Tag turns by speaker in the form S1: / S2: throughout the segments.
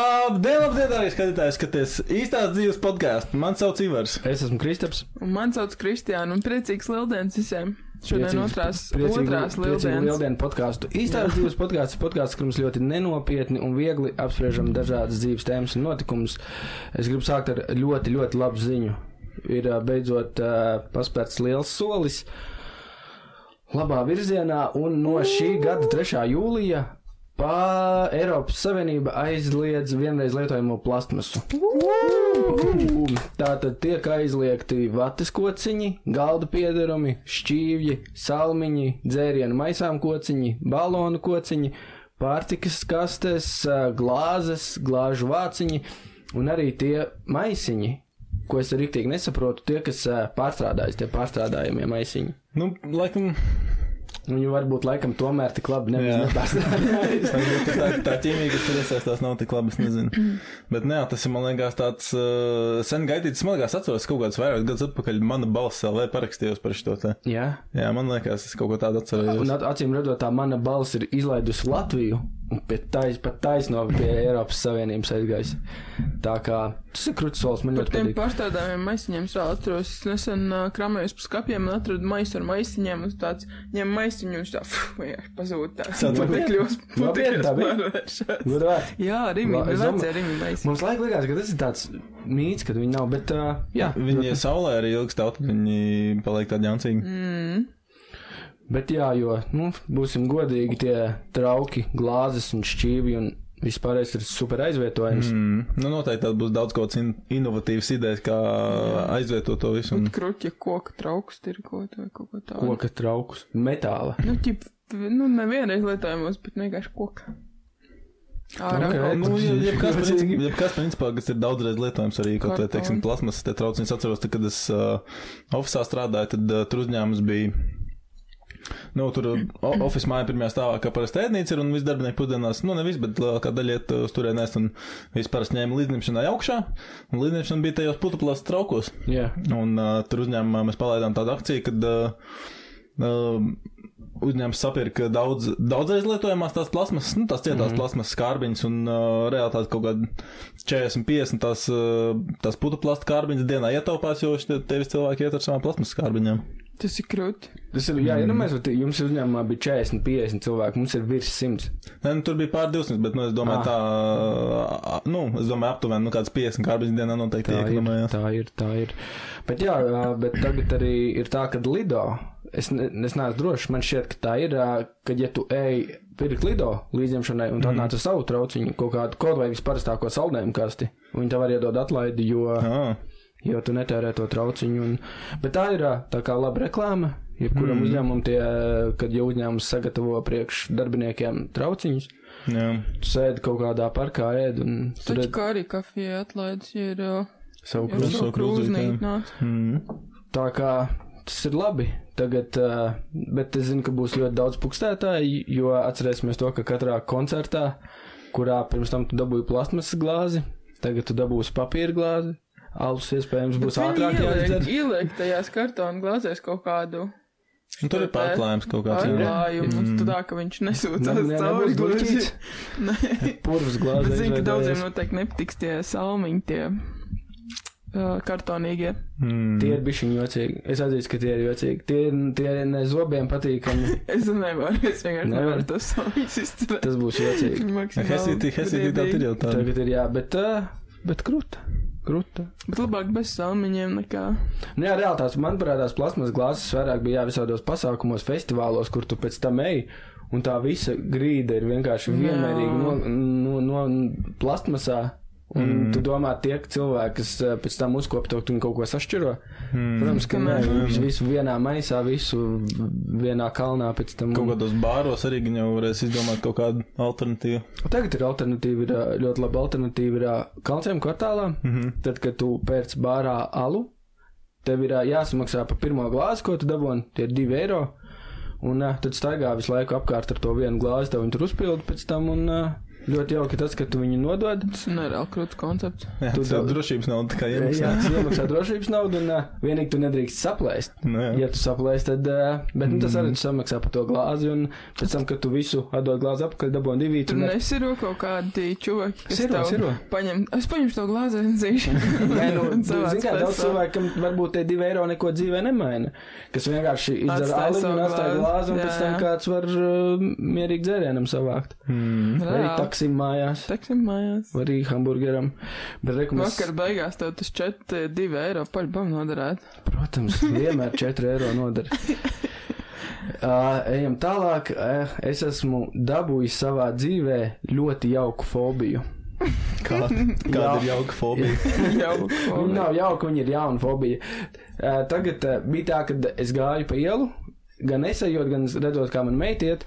S1: Labdien, labdien, arī skatītāji, skaties īstās dzīves podkāstu. Man sauc Ivars.
S2: Es esmu Kristaps.
S3: Un man sauc Kristiāna, un priecīgs lieldienas visiem. Šodien
S2: Priecīgs-
S3: otrās,
S2: priecīgu-
S3: otrās
S2: priecīgu
S3: lieldienas.
S2: Lieldienu podkāstu. Īstās dzīves podkāsts, podkāsts, kur mums ļoti nenopietni un viegli apspriežam dažādas dzīves tēmas un notikumus. Es gribu sākt ar ļoti, ļoti labu ziņu. Ir ā, beidzot ā, paspērts liels solis labā virzienā, un no šī gada 3. jūlija pa Eiropas Savienība aizliedz vienreiz lietojamo plastmasu. Tātad tiek aizliegti vatas kociņi, galda piedarumi, šķīvji, salmiņi, dzērienu maisām kociņi, balonu kociņi, pārtikas kastes, ā, glāzes, glāžu vāciņi un arī tie maisiņi, ko es arī tik nesaprotu, tie, kas ā, pārstrādājas, tie pārstrādājumie maisiņi.
S1: Nu, laikam,
S2: Viņi varbūt laikam tomēr tik labi
S1: Jā.
S2: nevis.
S1: varbūt tā, tā ķīmija, kas tur iesaistās, nav tik labi, es nezinu. Bet, nē, tas ir, man liekas, tāds uh, sen gaidīts. Man liekas, atceros kaut kādus vairākus gadus atpakaļ, mana balss LV parakstījos par šo te.
S2: Jā.
S1: Jā, man liekas, es kaut ko tādu atceros.
S2: Un at- acīm redzot, tā mana balss ir izlaidusi Latviju. Un pie tais, pat taisno pie Eiropas Savienības aizgājis. Tā kā tas ir krūtis solis, man
S3: Par
S2: ļoti
S3: tiem
S2: patīk.
S3: pārstādājumiem maisiņiem es vēl atceros. Es nesen uh, kramējos pa skapiem un atradu maisu ar maisiņiem. Un tāds ņem maisiņu, un viņš tā fuh, vienkārši pazūd. Tāds
S1: Sāc-
S3: putekļos,
S2: Nopietni
S3: putekļos
S2: tā bija?
S3: pārvēršās.
S2: Godvārds.
S3: Jā, Rimi,
S2: La- es domāju-
S3: vecē Rimi maisi.
S2: Mums laika likās, ka tas ir tāds mīts, ka viņi nav, bet uh, jā.
S1: Viņi ir saulē arī ilgi stāv, tad viņi paliek tādi jauncīgi. Mm.
S2: Bet jā, jo, nu, būsim godīgi, tie trauki, glāzes un šķīvi un vispārējais ir super aizvietojums. Mm.
S1: Mm. Nu, noteikti tad būs daudz kaut kādas in inovatīvas idejas, kā aizvietot to visu. Un...
S3: Kruķa koka trauks tirgot vai kaut ko tādu.
S2: Koka traukus, metāla.
S3: Nu, ķip, nu, nevienreiz lietojamos, bet vienkārši koka. Ārā.
S2: Ok,
S3: kaut
S1: Nu,
S3: kur.
S1: ja- jebkas, princi- jebkas, principā, kas ir daudzreiz lietojams, arī kaut kāda, teiksim,
S3: Kartoni.
S1: plasmasas te traucījums. Es atceros, tad, kad es uh, ofisā strādāju, tad uh, tur uzņēmums bija. Nu, tur oficiālā māja pirmā stāvā, kā parasti ēdnīca ir, un viss darbinieki pusdienās, nu, nevis, bet lielākā daļa iet uh, uz turienēs, un vispār ņēma līdzņemšanai augšā, un līdzņemšana bija tajos putekļos traukos.
S2: Jā.
S1: Un uh, tur uzņēmumā mēs palaidām tādu akciju, kad uh, uh, uzņēmums sapirka daudz, daudzreiz lietojamās tās plasmas, nu, tās
S2: Mhm.
S1: cietās mm. plasmas skārbiņas un uh, reāli tās kaut kādi 40, 50 tās, uh, tās putuplasta skārbiņas dienā ietaupās, jo šie tevis cilvēki iet ar savām plasmas skārbiņām.
S3: Tas ir krūti.
S2: Tas ir, jā, ja nu mēs, jums uzņēmumā bija 40, 50 cilvēki, mums ir virs 100.
S1: Nē, nu, tur bija pār 200, bet, nu, es domāju,
S2: Ah.
S1: ah. tā, uh, nu, es domāju, aptuveni, nu, kāds 50 skārbiņas dienā noteikti
S2: Tā ir,
S1: ieklumējās.
S2: tā ir, tā ir. Bet, jā, ā, bet tagad arī ir tā, ka Lido. Es, ne, es neesmu drošs. Man šķiet, ka tā ir, ā, ka, ja tu ej pirkt Lido līdzņemšanai un tā nāc ar savu trauciņu, kaut kādu kaut vai visparastāko saldējumu kasti, viņi tev var iedod atlaidi, jo,
S1: Ah.
S2: jo tu netērē to trauciņu. Un, bet tā ir ā, tā kā laba reklāma. Jebkuram mm. uzņēmumam, tie, ā, kad jau uzņēmums sagatavo priekš darbiniekiem trauciņus,
S1: Jā.
S2: tu sēdi kaut kādā parkā, ēd un tur
S3: Taču kā arī kafijai atlaides ja ir uh,
S2: savu
S3: jau
S1: Krūzē,
S3: savu
S1: krūzītēm.
S3: krūznīt nāc.
S1: Mm.
S2: Tā kā tas ir labi. Tagad, eh, bet es zinu, ka būs ļoti daudz pukstētāju, jo atcerēsimies to, ka katrā koncertā, kurā pirms tam tu dabūji plasmasas glāzi, tagad tu dabūsi papīra glāzi. Alus iespējams būs ātrāk
S3: jāizdara.
S2: jāizdzer.
S3: Ieliek tajās kartonu glāzēs kaut kādu
S1: Un Nu, Tur ir pārklājums kaut kāds. jā.
S3: pārklājumu, un tad tā, ka viņš
S2: Mm. Ne-
S3: nesūcās
S2: ne-
S3: cauri
S2: nebūs
S3: glāzēm.
S2: gluķīts.
S3: Nē,
S2: Purvs
S3: bet
S2: glāzi.
S3: zinu, ka
S2: aizveidējies.
S3: daudziem noteikti nepatiks tie salmiņi, tie uh, kartonīgie.
S1: Mm.
S2: Tie ir bijuši jocīgi. Es atzīstu, ka tie ir jocīgi. Tie, ir- tie ir ne zobiem patīkami.
S3: Es nevaru, es vienkārši
S2: Nevar.
S3: nevaru tos salmiņus izturēt.
S2: Tas būs jocīgi.
S1: Hesītī, hesītī, tā ir jau tāda.
S2: Tagad ir jā, bet, eh, bet krūta. Krūta.
S3: Bet labāk bez salmiņiem nekā.
S2: Nu, jā, reāli tās man parādās plasmas glāzes vairāk bija jā, visādos pasākumos, festivālos, kur tu pēc tam eji. Un tā visa grīda ir vienkārši
S3: Jā.
S2: vienmērīga no, no, no plasmasā. Un mm. tu domā, tie cilvēki, kas eh, pēc tam uzkopā to un kaut ko sašķiro. Mm. Protams, ka nē,
S3: Nē,
S2: viņš visu vienā maisā, visu vienā kalnā pēc tam.
S1: Kaut kādos bāros arī viņi jau varēs izdomāt kaut kādu alternatīvu.
S2: Nu, Tagad ir alternatīva, ir ā, ļoti laba alternatīva ir ā, kalciem kvartālā. Mm -hmm. Tad, kad tu pērc bārā alu, tev ir ā, jāsamaksā par pirmo glāzi, ko tu dabūji, tie ir divi eiro. Un ā, tad staigā visu laiku apkārt ar to vienu glāzi, tev viņi tur uzpildu pēc tam. Un, ā, Ļoti jauki tas, ka tu viņu nodod.
S3: Tas ir nereāli krūts koncepts.
S1: Jā,
S2: Tu
S1: tas ir
S2: daudz-
S1: drošības nav tā kā
S2: Jā,
S1: iemaksā.
S2: tas iemaksā drošības naudu, un uh, vienīgi tu nedrīkst saplēst.
S1: Nu, jā.
S2: Ja tu saplēsi, tad. Uh, bet nu, tas arī tu samaksā par to glāzi, un pēc tam, kad tu visu atdod glāzi apakaļ, dabūji divītu.
S3: Tur nesiro kaut kādi čuvaki. kas
S2: Siro,
S3: tev
S2: siro.
S3: Paņem, es paņemšu to glāzi un dzīšu.
S2: Nē, nu, zini, kā daudz cilvēkam varbūt tie divi eiro neko dzīvē nemaina. Kas vienkārši izdara
S3: Atstāj
S2: alumu
S3: savu
S2: un atstāja glāzi,
S3: glāzi,
S2: un
S3: jā,
S2: pēc tam
S3: jā.
S2: kāds var uh, mierīgi dzērienam savākt.
S1: Mm.
S2: Vai arī taksim mājās,
S3: Teksim mājās.
S2: vai arī hamburgeram. Bet, reku, mēs,
S3: Vakar beigās tev tas 4,2 eiro paļbam noderētu.
S2: protams, vienmēr 4 eiro nodara. Uh, ejam tālāk. Uh, es esmu dabūjis savā dzīvē ļoti jauku fobiju.
S1: Kā, kāda ir jauka fobija?
S3: Jau, ko.
S2: Viņa nav jauka, viņa ir jauna fobija. Eh, Tagad eh, bija tā, ka es gāju pa ielu, gan esējot, gan redzot, kā man meitiet.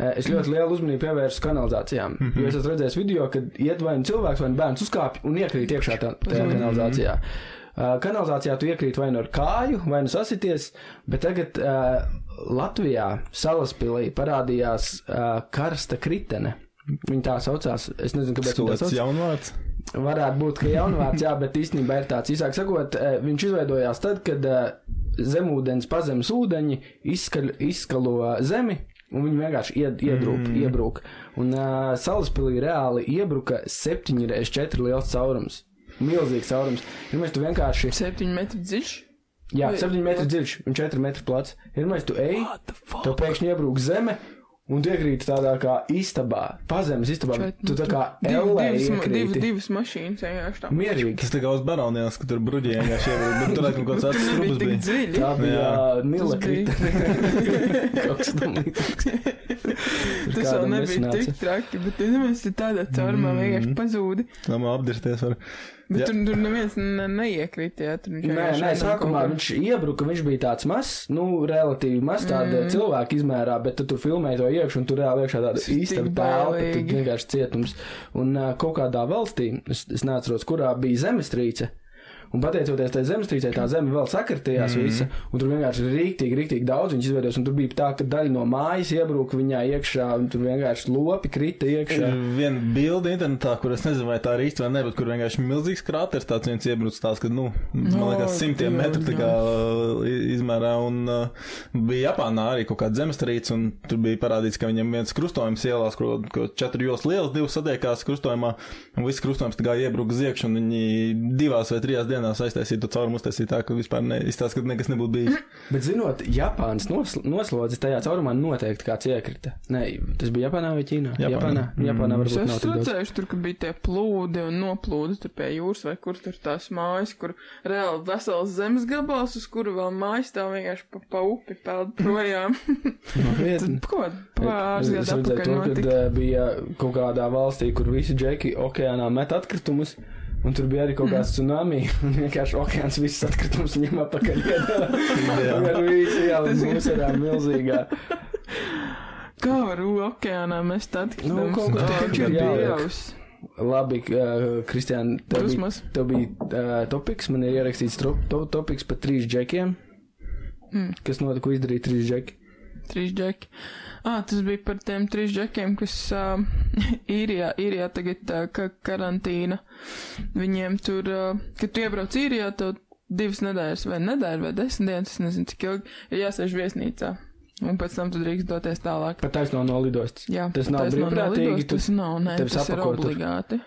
S2: Es ļoti lielu uzmanību pievērsu kanalizācijām. Mm -hmm. Es esmu redzējis video, kad iet vai nu cilvēks, vai nu bērns uzkāpj un iekrīt iekšā tā, tajā kanalizācijā. Uh, kanalizācijā tu iekrīt vai nu ar kāju, vai nu sasities, bet tagad uh, Latvijā, Salaspīlī, parādījās uh, karsta kritene. Viņa tā saucās. Es nezinu, kāpēc viņa tā
S1: Cilvēks
S2: sauc.
S1: jaunvārds.
S2: Varētu būt, ka jaunvārds, jā, bet īstenībā ir tāds īsāk sakot, eh, viņš izveidojās tad, kad eh, zemūdens pazemes ūdeņi izskaļ, izskalo eh, zemi. Un viņi vienkārši ied, iedrūp, mm. iebrūk. Un uh, salaspīlī reāli iebruka 7,4 liels caurums. Milzīgs caurums. Pirmais, tu vienkārši.
S3: 7 metru dziļš.
S2: Jā,
S3: Vai-
S2: 7 metri dziļš un 4 metri plats. Pirmais, tu ej, tev pēkšņi iebrūk zeme. Un tu iekrīt tādā kā istabā, pazemes istabā.
S3: Čet-
S2: Tu tā kā
S3: Div-
S2: ellē
S3: divas ma- div-
S2: iekrīti. Nu,
S3: Divas mašīnas vienkārši tā.
S2: Mierīgi.
S1: Tas tā kā uz baronijās, ka tur bruģījām, ja šie bija, bet tur laikam kaut kāds
S3: Tas
S1: strupis
S3: bija tik
S1: bija.
S3: dziļi.
S2: Tā bija Nila
S3: Tas bija-
S2: krita. Kaut kas tamlīdzīgs.
S3: Tas jau nebija tik traki, bet iedomājieties, ja tādā
S2: Mm.
S3: caurumā vienkārši pazūdi.
S1: Domā, apdirties var.
S3: Bet
S1: Jā.
S3: tur, tur neviens ne, neiekrita. Jā, tur viņš
S2: Nē,
S3: vienkārši
S2: nē,
S3: aizgāja
S2: sākumā
S3: kaut kur.
S2: viņš iebruka, viņš bija tāds mazs, nu, relatīvi mazs, tāda mm. cilvēka izmērā, bet tad tu filmēji to iekšā, un tur reāli iekšā tāda
S3: Tas ir
S2: īsta telpa,
S3: tik bailīgi.
S2: tik vienkārši cietums. Un uh, kaut kādā valstī, es, es neatceros, kurā bija zemestrīce. Un pateicoties tai zemestrīcei, tā zeme vēl sakartījās mm. visa, un tur vienkārši rīktīgi, rīktīgi daudz viņas izveidojās, un tur bija tā, ka daļa no mājas iebruka viņā iekšā, un tur vienkārši lopi krita
S1: Ir
S2: iekšā.
S1: viena bilde internetā, kur es nezinu, vai tā ir īsta vai nē, bet kur vienkārši milzīgs krāteris tāds viens iebrucis tās, ka, nu, man
S3: No,
S1: liekas, simtiem
S3: Dievs,
S1: metru tā kā uh, i- izmērā. Un uh, bija Japānā arī kaut kāda zemestrīce, un tur bija parādīts, ka viņam viens krustojums ielās, kur kur četri jūs liels, divas satiekās krustojumā, un viss krustojums tā kā iebruka ziekš, un viņi divās vai trijās dienās aiztaisīja to caurumu, uztaisīja tā, ka vispār ne, izstāst, ka nekas nebūtu bijis.
S2: Bet, zinot, Japānas nosl noslodzes tajā caurumā noteikti kāds iekrita. Nē, tas bija Japānā vai Ķīnā?
S1: Japānā.
S2: Japānā,
S1: Mm.
S2: Japānā
S3: Es
S2: varbūt nav
S3: esmu
S2: tik daudz.
S3: redzējuši, tur ka bija tie plūdi un noplūdi tur pie jūras, vai kur tur tās mājas, kur reāli vesels zemes gabals, uz kuru vēl mājas tā vienkārši pa, pa upi peld projām. Tad,
S2: Nopietni.
S3: ko?
S2: Es
S3: Pāris gadus
S2: redzēju
S3: atpakaļ
S2: to, kad
S3: notika.
S2: eh, bija kaut kādā valstī, kur visi džeki okeānā met atkritumus. Un tur bija arī kaut
S3: Mm.
S2: kāds tsunami. Un vienkārši okeāns visas atkritumus ņem apakaļ.
S1: Jā.
S2: Tur visi jau mums ir milzīgā.
S3: Kā var u- okeānā mēs tad, kad
S2: Nu, kaut kas taču
S1: ir
S3: jājaus.
S2: Labi, eh, Kristiāna, tev bija,
S3: Dusmas.
S2: tev bija uh, topiks. Man ir ierakstīts tro, to, topiks par trīs džekiem.
S3: Mm.
S2: Kas notika, ko izdarīja trīs džeki?
S3: Trīs džeki. Ah, tas bija par tiem trīs džekiem, kas uh, īrijā, īrijā tagad uh, ka karantīna. Viņiem tur, uh, kad tu iebrauc īrijā, tev divas nedēļas vai nedēļa vai desmit dienas, es nezinu cik ilgi, ir jāsēž viesnīcā. Un pēc tam tu drīkst doties tālāk.
S2: Pat taisnām no lidostas.
S3: Jā,
S2: Tas nav
S3: taisnām no
S2: brīvprātīgi,
S3: lidos,
S2: tu-
S3: Tas nav, nē,
S2: tevi
S3: tas ir
S2: sapako tur.
S3: obligāti.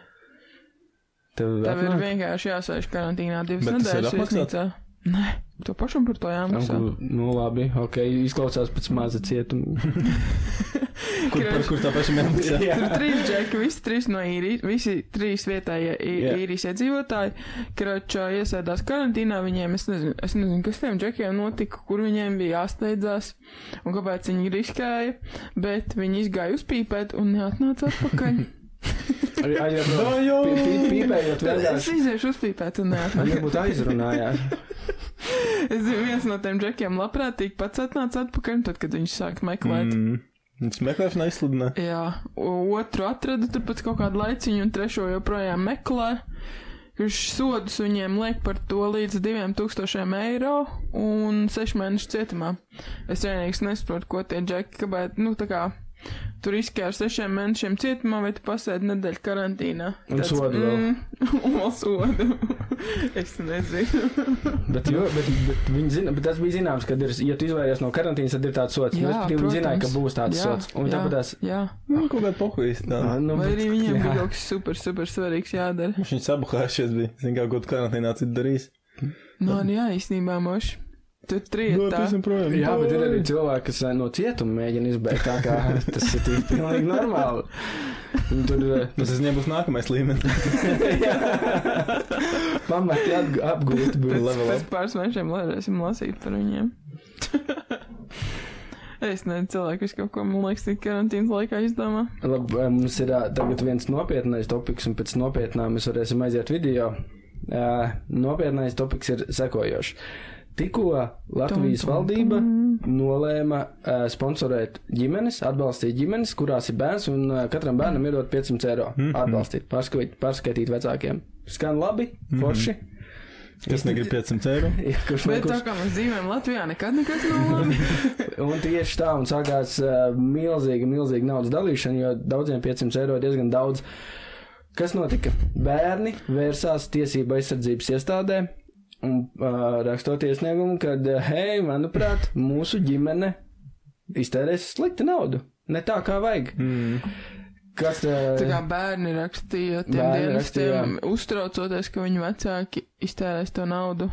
S2: Tev
S3: Tev ir
S2: atnāk?
S3: vienkārši jāsēž karantīnā divas
S1: Bet tas ir
S3: nedēļas
S1: apmaksāts?
S3: viesnīcā. Nē, to pašam par to jāmaksā.
S2: Nu, Nu, labi, ok, izklausās pēc maza cietuma.
S1: Kur, par, kur tā paša mēnesis?
S2: Jā.
S3: Tur trīs džeki, visi trīs no īrijas, visi trīs vietējie ī-
S2: Jā.
S3: īrijas iedzīvotāji, kročā iesēdās karantīnā, viņiem, es nezinu, es nezinu, kas tiem džekiem notika, kur viņiem bija jāsteidzās un kāpēc viņi riskēja, bet viņi izgāja uzpīpēt un neatnāca atpakaļ.
S2: Arī aiziet no
S1: Jā, jā.
S2: pī- pī- pīpējot
S3: Tad es
S2: vienkārši.
S3: iziešu uzpīpēt un
S2: Man
S3: neatnāca.
S2: nebūtu aizrunājās.
S3: Es zinu, viens no tiem džekiem labprātīgi pats atnāca atpakaļ, tad, kad viņš sāk meklēt.
S1: Mm. Viņš meklēšana aizsludināja.
S3: Jā, o- otru atrada tur pēc kaut kāda laiciņa, un trešo joprojām meklē. Viņš sodus viņiem liek par to līdz 2000 eiro un 6 mēnešu cietumā. Es vienīgais nesaprotu, ko tie džeki, kāpēc, nu, tā kā Tur izskrēja ar sešiem mēnešiem cietumā, vai tu pasēdi nedēļu karantīnā.
S2: Un sodu vēl.
S3: Mm, un sodu. es nezinu.
S2: Bet, jo, bet, bet, viņi zina, bet tas bija zināms, ka, ir, ja tu izvairies no karantīnas, tad ir tāds sots.
S3: Jā,
S2: Jā, viņi zināja, ka
S3: protams.
S2: būs tāds
S3: Jā,
S2: sots. Un
S3: jā,
S2: tāpat tās.
S3: Jā.
S1: Nu, kaut kāda pohuļs.
S2: Nu,
S3: Vai
S2: bet-
S3: arī viņiem bija
S2: jā.
S3: kaut kas super, super svarīgs jādara.
S1: Viņš viņu sabuhājušies bija. Zin kā kaut karantīnā citu darīs.
S3: Nu, un jā, īstenībā, moši. Tur
S1: Nu,
S3: trietā.
S1: tīsim projām.
S2: Jā, bet ir arī cilvēki, kas eh, no cietuma mēģina izbēgt. Tā kā tas ir tik pilnīgi normāli. Un Tur eh,
S1: Tas es nebūs nākamais līmenis.
S2: eh, pamati atg- apgūti
S1: Pēc-
S2: bija.
S1: Level
S3: Pēc
S1: up.
S3: pāris mēnešiem varēsim lasīt par viņiem. es nezinu, cilvēki, kas kaut ko, man liekas, tik karantīnas laikā izdomā.
S2: Labi, eh, mums ir eh, tagad viens nopietnais topiks, un pēc nopietnā mēs varēsim aiziet video. Eh, Nopietnais topiks ir sekojošs. Tikko Latvijas valdība nolēma eh, sponsorēt ģimenes, atbalstīt ģimenes, kurās ir bērns, un eh, katram bērnam iedot 500 eiro. Atbalstīt, pārskaitīt, pārskaitīt vecākiem. Skan labi, forši.
S1: Kas negrib 500 eiro?
S2: Ja, kurš
S3: Bet
S2: man
S3: tā
S2: kurš?
S3: kā mēs dzīvojam Latvijā, nekad nekas nav labi.
S2: Un tieši tā, un sākās uh, milzīga, milzīga naudas dalīšana, jo daudziem 500 eiro ir diezgan daudz. Kas notika? Bērni vērsās tiesība aizsardzības iestādē un uh, rakstot iesniegumu, ka, uh, hei, manuprāt, mūsu ģimene iztērēs slikti naudu. Ne tā kā vajag.
S1: Mm.
S2: Kas, uh,
S3: Tā kā bērni rakstīja tiem
S2: Bērni
S3: dienestiem, uztraucoties, ka viņu vecāki iztērēs to naudu.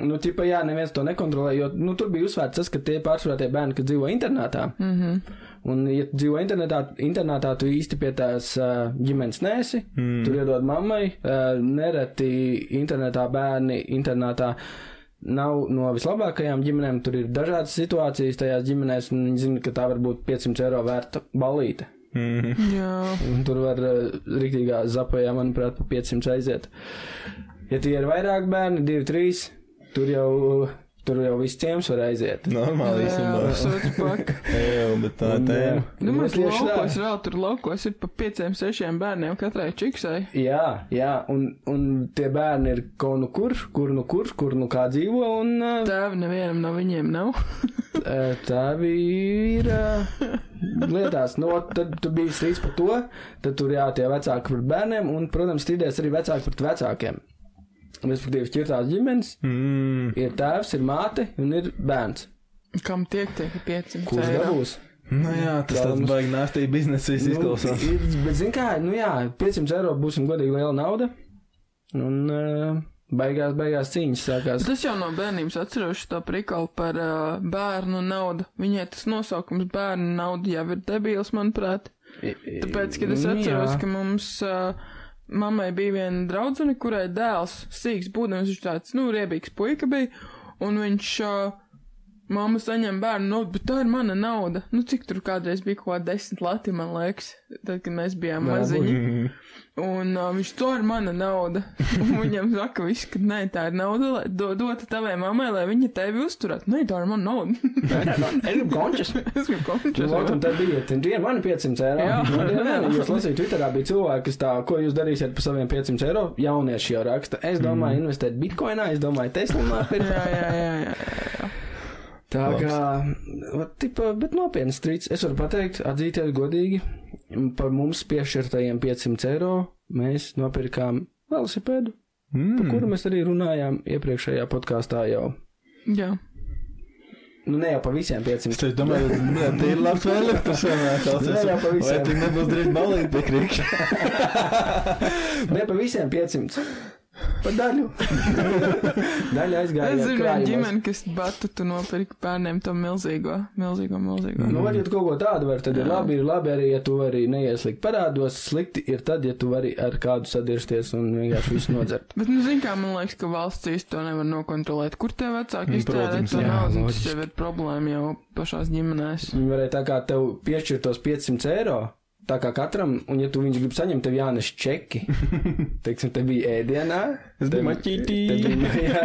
S2: Nu, tipā, jā, neviens to nekontrolē, jo nu, tur bija uzsvērts tas, ka tie pārsvarā tie bērni, kas dzīvo internātā. Mm -hmm.
S3: Mhm.
S2: Un, ja tu dzīvo internātā, internātā tu īsti pie tās uh, ģimenes nēsi, mm. tur iedod mammai. Uh, nereti internetā bērni internātā nav no vislabākajām ģimenēm, tur ir dažādas situācijas tajās ģimenēs, un viņi zina, ka tā var būt 500 eiro vērta balīte.
S1: Mm.
S3: Jā,
S2: Un tur var uh, rīktīgā zapējā, manuprāt, pa 500 aiziet. Ja tie ir vairāk bērni, 2, 3, tur jau, tur jau viss ciems var aiziet.
S1: Normāli īstenībā.
S3: sūdz pak.
S1: Ejam, bet tā
S2: Un,
S1: tēma.
S2: uh,
S3: Nu, mēs
S2: nu, tieši tā.
S3: laukos vēl tur laukos ir pa pieciem, sešiem bērniem katrai čiksai.
S2: Jā, jā, un, un tie bērni ir kaut nu kur, kur nu kur, kur nu kā dzīvo, un uh,
S3: Tēvi nevienam no viņiem nav.
S2: Eh, Tā bija ir, eh, lietās. No, tad tu biji strīds par to, tad tur jā, tie vecāki par bērniem, un, protams, strīdēs arī vecāki pret vecākiem. Respektīvi, šķirtās ģimenes,
S1: Mm.
S2: ir tēvs, ir māte un ir bērns.
S3: Kam tiek tie pa 500
S2: Kurš
S3: eiro?
S2: dabūs?
S1: Nu jā, tas tāds
S2: Galvenais-
S1: baigi nāstīgi biznesa izklausās.
S2: Nu, ir- bet, zini, kā, nu jā, 500 eiro būsim godīgi liela nauda. Un uh, beigās, beigās cīņas sākās.
S3: Tas jau no bērnības atceros to prikalu par uh, bērnu naudu. Viņai tas nosaukums bērnu nauda jau ir debils, manuprāt. Tāpēc, kad es
S2: Nu,
S3: atceros,
S2: jā.
S3: ka mums uh, mammai bija viena draudzene, kurai dēls, sīgs būdams, viņš tāds, nu, riebīgs puika bija, un viņš, uh, mamma saņem bērnu naudu, bet tā ir mana nauda. Nu, cik tur kādreiz bija kaut kā desmit lati, man liekas, tad, kad mēs bijām
S2: Varbūt.
S3: maziņi.
S1: Mm.
S3: Un uh, viņš to ir mana nauda. Un viņam saka, viss, ka nē, tā ir nauda, lai do, dota tavai mammai, lai viņa tevi uzturētu. Nē, tā ir mana nauda.
S2: Es gribu končus.
S3: es gribu
S2: Nu, Lūk, un
S3: končēt.
S2: tā bija. Tad bija man 500 eiro.
S3: Jā.
S2: Nu, dienu man, Jūs lasījāt, Twitterā bija cilvēki, kas tā, ko jūs darīsiet par saviem 500 eiro? Jaunieši jau raksta. Es domāju, mm. investēt bitkoinā, es domāju, Teslā.
S3: Jā, jā, jā, jā.
S2: Tā
S1: Labs.
S2: kā, va, tipa, bet nopietni strīds. Es varu pateikt, atzīties godīgi, par mums piešķirtajiem 500 eiro mēs nopirkām velosipēdu, par
S1: Mm.
S2: kuru mēs arī runājām iepriekšējā podkāstā jau.
S3: jā.
S2: Nu, ne jau par visiem 500.
S1: Es domāju, ka tā ir labs vēlēšana. Tas
S2: Nē, jā, pavisam.
S1: Vai tu nebūs drīz balīt pie krīkša?
S2: Ne par visiem 500. Par daļu. Daļa aizgāja.
S3: Es zinu, ka
S2: krājumos.
S3: ģimene, kas batutu nopirka bērniem to milzīgo, milzīgo, milzīgo.
S2: Nu, var, ja tu kaut ko tādu vari, tad ir labi, ir labi arī, ja tu vari neieslikt parādos. Slikti ir tad, ja tu vari ar kādu sadirties un vienkārši visu nodzert.
S3: Bet, nu, zin kā, man liekas, ka valsts īsti to nevar nokontrolēt. Kur tie vecāki
S1: Mm,
S3: iztērē
S1: protams,
S3: to
S2: jā,
S3: naudu? Tas
S2: loģiski.
S3: jau ir problēma jau pašās ģimenēs.
S2: Viņi varēja tā kā tev piešķirt tos 500 eiro. Tā kā katram, un ja tu viņus grib saņemt, tev jānes čeki. Teiksim, te bija ēdienā.
S1: Es
S2: te-
S1: biju maķītī.
S2: te bija- jā.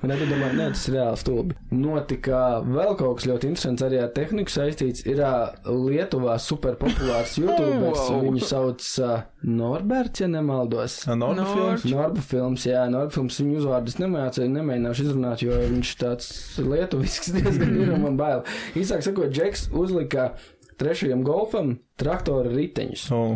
S2: Un tad tu domā, nē, tas ir reāli stulbi. Notika vēl kaut kas ļoti interesants arī ar tehniku saistīts. Ir ā, Lietuvā superpopulārs YouTubers.
S3: Wow.
S2: Viņu sauc ā, Norberts, ja nemaldos.
S1: Norma films.
S2: Norba films, jā, Norba films viņa uzvārdus nemācīja, nemēģināšu izrunāt, jo viņš tāds lietuvisks diezgan ir un man bail. Īsāk sakot, Džeks uzlika trešajam golfam traktora riteņus.
S1: Oh.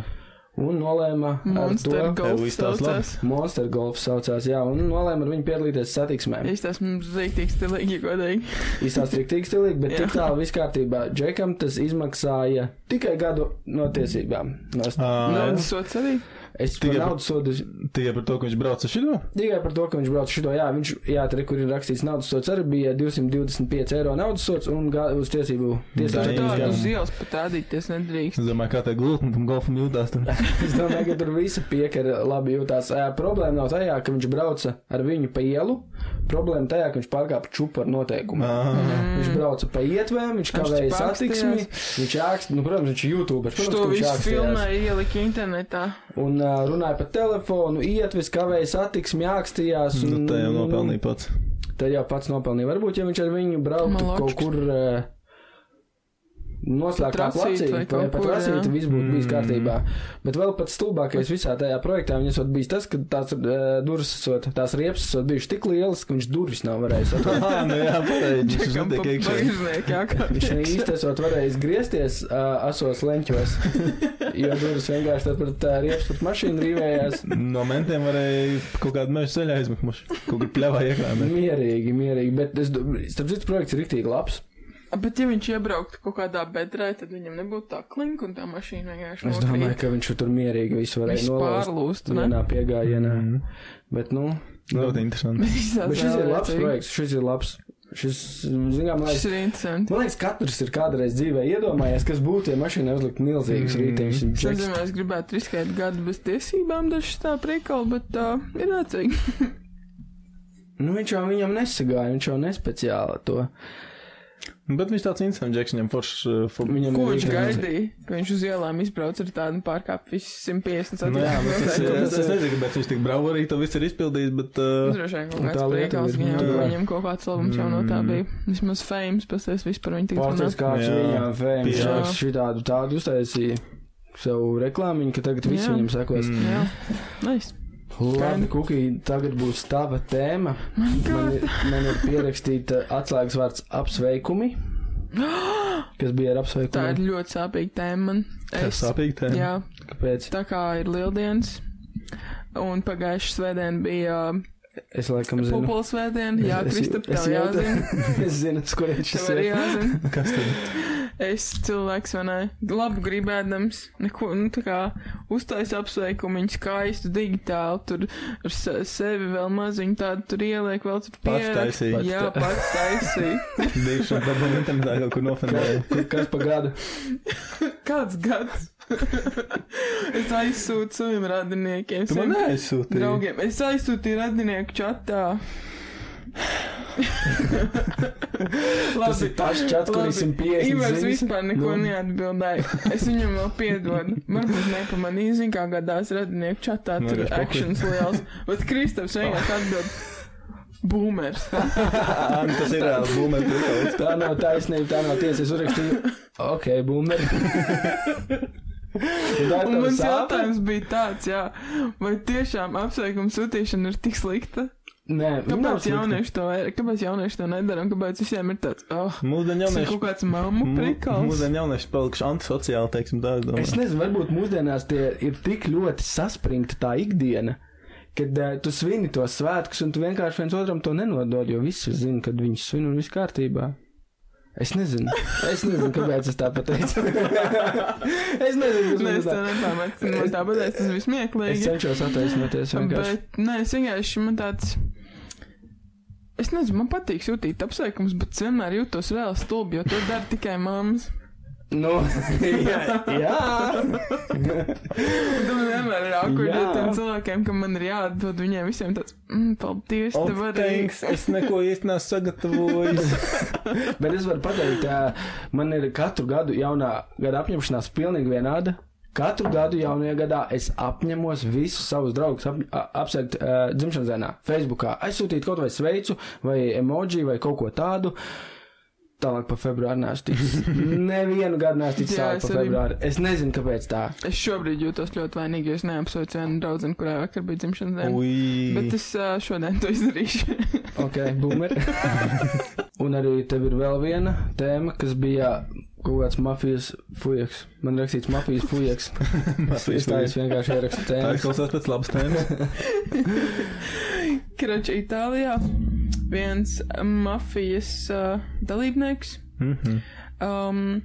S2: Un nolēma ar
S3: Monster
S2: to.
S1: Tev
S3: Golf
S1: izstāst labi.
S3: saucās.
S2: Monster golf saucās, jā, un nolēma ar viņu piedalīties satiksmē.
S3: Īstās mums zīktīgi stilīgi, godīgi.
S2: Izsācis rīktīgi stilīgi, bet
S3: Jā.
S2: tik tālu viss kārtībā. Džekam tas izmaksāja tikai gadu no tiesībām. No
S3: Ah.
S2: st-
S1: Uh,
S3: Naudas sots arī.
S2: es tikai
S1: tikai-
S2: naudu sodu
S1: Tie par to, ka viņš brauca šito?
S2: tikai par to, ka viņš brauc šito. Jā, viņš, jā, tur, kur ir rakstīts naudas sots, arī bija 225 eiro naudas sots un ga- uz tiesību.
S1: Tā
S3: Tur
S1: ir
S2: tiesību
S3: tā
S1: gan.
S3: uz ielas pat tādīties nedrīkst.
S1: Es domāju, kā tā glutni tam golfam jūtās. Tur.
S2: es domāju, ka tur visi piekara labi jūtās. Ē, Problēma nav tajā, ka viņš brauca ar viņu pa ielu. Problēma tajā, ka viņš pārkāpa čupa ar noteikumu.
S1: Ā,
S2: Viņš brauca pa ietvēm, viņš
S3: Viņš
S2: kavēja
S3: čipākstījās.
S2: satiksmi, viņš ākst, nu, protams, viņš ir YouTube. Protams,
S3: Šo
S2: ka viņš
S3: visu
S2: ākstījās.
S3: filmēju ielika internetā.
S2: Un uh, runāja pa telefonu, ietvis, kavēja satiksmi, ākstījās.
S1: Nu,
S2: Un,
S1: tā jau nopelnīja pats.
S2: Tā jau pats nopelnīja. Varbūt, ja viņš ar viņu brauktu
S3: Maločks.
S2: kaut kur uh, noslēgtā
S3: Tracīt
S2: placīte,
S3: vai
S2: vai
S3: kaut
S2: pat
S3: kur,
S2: lasīt,
S3: jā.
S2: viss būtu bijis
S1: Mm.
S2: kārtībā. Bet vēl pats stulbākais visā tajā projektā viņas būtu bijis tas, ka tās uh, durvis, esot- tās riepas esot bijušas tik lielas, ka viņš durvis nav varējis atvērt.
S1: Ā, nu jā, pareizi. Viņš
S3: Kam pa
S1: netiek iekšā.
S3: bagžnieki
S2: Viņš ne
S3: jākārtīgi.
S2: īsti esot varējis griezties uh, asos leņķos, jo durvis vienkārši tad pret uh, riepas pret mašīnu rīvējās.
S1: No mentiem varēja kaut kādu mežu ceļā aizmukt. Kaut kur pļāvā iekšā. bet-
S2: Mierīgi, mierīgi, bet es domāju, ka projekts ir rīktīgi labs.
S3: Bet ja viņš iebrauktu kaut kādā bedrē, tad viņam nebūtu tā klinka un tā mašīna vienkārši
S2: Es domāju,
S3: nokrīt.
S2: ka viņš tur mierīgi visu varēja
S3: Viņš
S2: nolaist
S3: pārlūstu, ne?
S2: vienā piegājienā.
S1: Mhm.
S2: Bet, nu,
S1: Ļoti interesanti.
S3: Visās
S2: bet šis ir
S3: vēl
S2: labs
S3: redzīgi.
S2: projekts, šis ir labs. Šis, zinām, man
S3: Šis
S2: liekas,
S3: ir interesants.
S2: man liekas, katrs ir kādreiz dzīvē iedomājies, kas būtu, ja mašīna uzliktu milzīgus
S1: Mm.
S2: rītdienas
S3: Es nezinu, vai es gribētu riskēt gadu bez tiesībām, dažs tā priekala, bet uh, ir redzīgi.
S2: Nu, viņš jau viņam nesagāja, viņš jau nespeciāli to.
S1: Bet viņš tāds interesants, Džeks, viņam foršs. uh, for-
S2: Viņam
S3: Ko
S2: ir
S3: viņš
S2: rīktīgi milzīgi.
S3: gaidīja? Ka viņš uz ielām izbrauc ar tādu pārkāpumu visu 150
S1: Nu, jā, bet tas ir. Es, es nezinu, kāpēc viņš tik brauc arī, to viss ir izpildījis, bet. Uh,
S3: Droši vien kaut
S2: Un tā
S3: kāds
S2: lieta
S3: priekals,
S2: ir- Mm.
S3: viņam,
S1: jā.
S3: viņam kaut kāds labums jau no tā bija. Vismaz fame, pēc tam vispār viņa tik
S2: Pārsteigts,
S3: runā.
S2: kāds
S1: Jā.
S2: viņam fēns
S1: Jā.
S2: šāks šitādu tādu uztaisīja savu reklāmiņu, ka tagad visi
S3: Jā.
S2: viņam sekos.
S1: mm.
S3: Jā, nice.
S2: Labi, Kukī, tagad būs tava tēma. Man ir, man ir pierakstīta atslēgas vārds apsveikumi. Kas bija ar
S3: Tā ir
S2: apsveikumiem?
S3: ļoti sāpīga tēma man.
S1: Tas
S3: Es,
S1: sāpīgi tēma.
S3: jā,
S2: Kāpēc?
S3: tā kā ir lieldienas. Un pagājušā svētdiena bija
S2: Es laikam Nu, zinu.
S3: popola svētdiena. Jā,
S2: Es- es-
S3: Kristap,
S2: es
S3: tev
S2: jau te-
S3: jāzina.
S2: es zinu, uz kurienes
S3: Tev
S2: šis
S3: arī
S2: ir.
S3: jāzina.
S1: Kas tad?
S3: Es cilvēks, vai ne? Labi gribēdams, neko, nu, tā kā uztaisīju apsveikumu, viņa skaistu digitāli, tur ar se- sevi vēl maziņu tādu tur ieliek, vēl tur
S1: Pats
S3: pierakstu.
S1: taisīja.
S3: Jā,
S2: Pats
S3: pats taisīja.
S1: Dīkšana, tad man internetā kaut kur nofendēja.
S2: Kas- Kas pa gadu?
S3: Kāds gads? es aizsūtu saviem radiniekiem,
S1: Tu man
S3: saviem
S1: neaizsūtīji.
S3: draugiem. Es aizsūtīju radinieku čatā.
S2: Tas ir tas čats, kur ir
S3: Labi,
S2: 150.
S3: Ivars
S2: ziņas.
S3: vispār neko
S2: Nu.
S3: neatbildēja. Es viņam vēl piedodu. Varbūt nepamanīju, zinu, kā gadās radinieku čatā,
S1: Nu,
S3: tur
S1: jā, pohuj.
S3: akcents liels. Bet Kristaps
S2: Oh.
S3: vienkārši atbild. Boomers.
S1: Ā, nu Tas ir reāls boomer trikots.
S2: Tā nav taisnība, tā nav tiesa. Es uzrakstīju, ok, boomer. Un tā ir
S3: Un
S2: tava
S3: mans
S2: sāpe?
S3: jautājums bija tāds, jā, vai tiešām apsveikuma sūtīšana ir tik slikta?
S2: Nē, viņa nav
S3: Kāpēc
S2: slikta.
S3: jaunieši to, vai- kāpēc jaunieši to nedara un kāpēc visiem ir tāds, oh,
S1: Mūsdienu
S3: tas ir
S1: jaunieši.
S3: kaut kāds mammu
S2: nu,
S1: mū-
S3: prikals?
S1: Mūsdienu jaunieši palikuši antisociāli, teiksim, tā es
S2: Es
S1: domāju.
S2: nezinu, varbūt mūsdienās tie ir tik ļoti saspringti tā ikdiena, kad uh, tu svini to svētkus un tu vienkārši viens otram to nenodod, jo visi zina, kad viņi svin un viss kārtībā. Es nezinu, es nezinu, kāpēc es tā pateicu. es nezinu,
S3: Nē, Nu, es
S2: kas
S3: to
S2: man tā.
S3: nepamatu. Man tāpēc es tas viss
S2: Es
S3: smieklīgi.
S2: cenšos attaisnoties vienkārši.
S3: Bet, nē, es vienkārši man tāds. Es nezinu, man patīk sūtīt apsveikumus, bet es vienmēr jūtos reāli stulbi, jo to dara tikai mammas.
S2: Nu, jā, jā.
S3: Un man vienmēr ir akurdi ar
S2: Jā.
S3: tiem cilvēkiem, ka man ir jāatdod viņiem visiem tāds, mm, paldies,
S1: Oh,
S3: tev arī.
S1: thanks, es neko īsti nesu sagatavojis.
S2: Bet es varu pateikt, ā, man ir katru gadu jaunā gada apņemšanās pilnīgi vienāda. Katru gadu jaunajā gadā es apņemos visus savus draugus ap, a- apsveikt uh, dzimšanas dienā, Facebookā. Aizsūtīt kaut vai sveicu, vai emoji, vai kaut ko tādu. Tālāk par februāru neesmu ticis. Nevienu gadu neesmu ticis
S3: Jā,
S2: tālāk
S3: es
S2: par
S3: arī.
S2: februāru. Es nezinu, kāpēc tā.
S3: Es šobrīd jūtos ļoti vainīgi, jo es neapsveicu vienu draugu, kurai vakar bija dzimšanas diena.
S1: Ui.
S3: Bet es uh, šodien to izdarīšu.
S2: Ok, boomer. Un arī tev ir vēl viena tēma, kas bija kaut kāds mafijas fujaks. Man rakstīts mafijas fujaks. es tā es vienkārši ierakstu
S1: Tā
S2: tēmu.
S1: izklausās pēc labas tēmas.
S3: Kroča Itālijā viens mafijas uh, dalībnieks.
S1: Mhm.
S3: Um,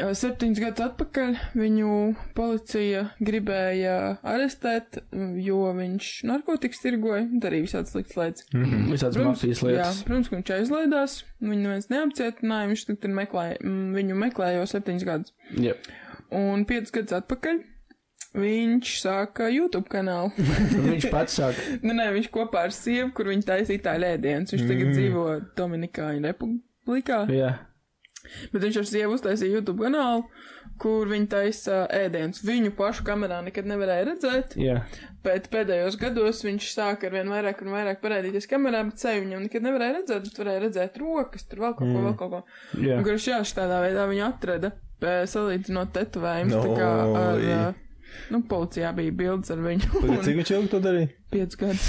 S3: uh, Septiņus gadus atpakaļ viņu policija gribēja arestēt, mm, jo viņš narkotikas tirgoja, darīja visādas sliktas lietas.
S1: Mhm.
S2: Visādas mafijas
S3: Mm, jā,
S2: lietas.
S3: protams, ka viņš aizlaidās, viņu neviens neapcietināja, viņš tagad ir meklēja, mm, viņu meklēja jau septiņus gadus.
S2: Jā.
S3: Un piecus gadus atpakaļ viņš sāka YouTube kanālu.
S2: Un viņš pats sāk.
S3: Nu, nē, viņš kopā ar sievu, kur viņa taisīja tā lēdienus. Viņš tagad
S1: Mm.
S3: mm. dzīvo Dominikāņu republikā.
S2: Jā.
S3: Bet viņš ar sievu uztaisīja YouTube kanālu, kur viņa taisa ēdienus. Viņu pašu kamerā nekad nevarēja redzēt,
S2: Jā.
S3: bet pēdējos gados viņš sāka ar vien vairāk un vairāk parādīties kamerā, bet sevi viņam nekad nevarēja redzēt, bet varēja redzēt rokas, tur vēl kaut ko,
S2: Mm.
S3: vēl kaut ko.
S2: Jā.
S3: Un kurš jā, tādā veidā viņu atrada, eh, salīdzinot tetovējumus, no, tā kā ar,
S1: Oi.
S3: eh, nu, policijā bija bildes ar viņu.
S1: Pagaid, Cik viņš ilgi to darīja?
S3: 5 gadus.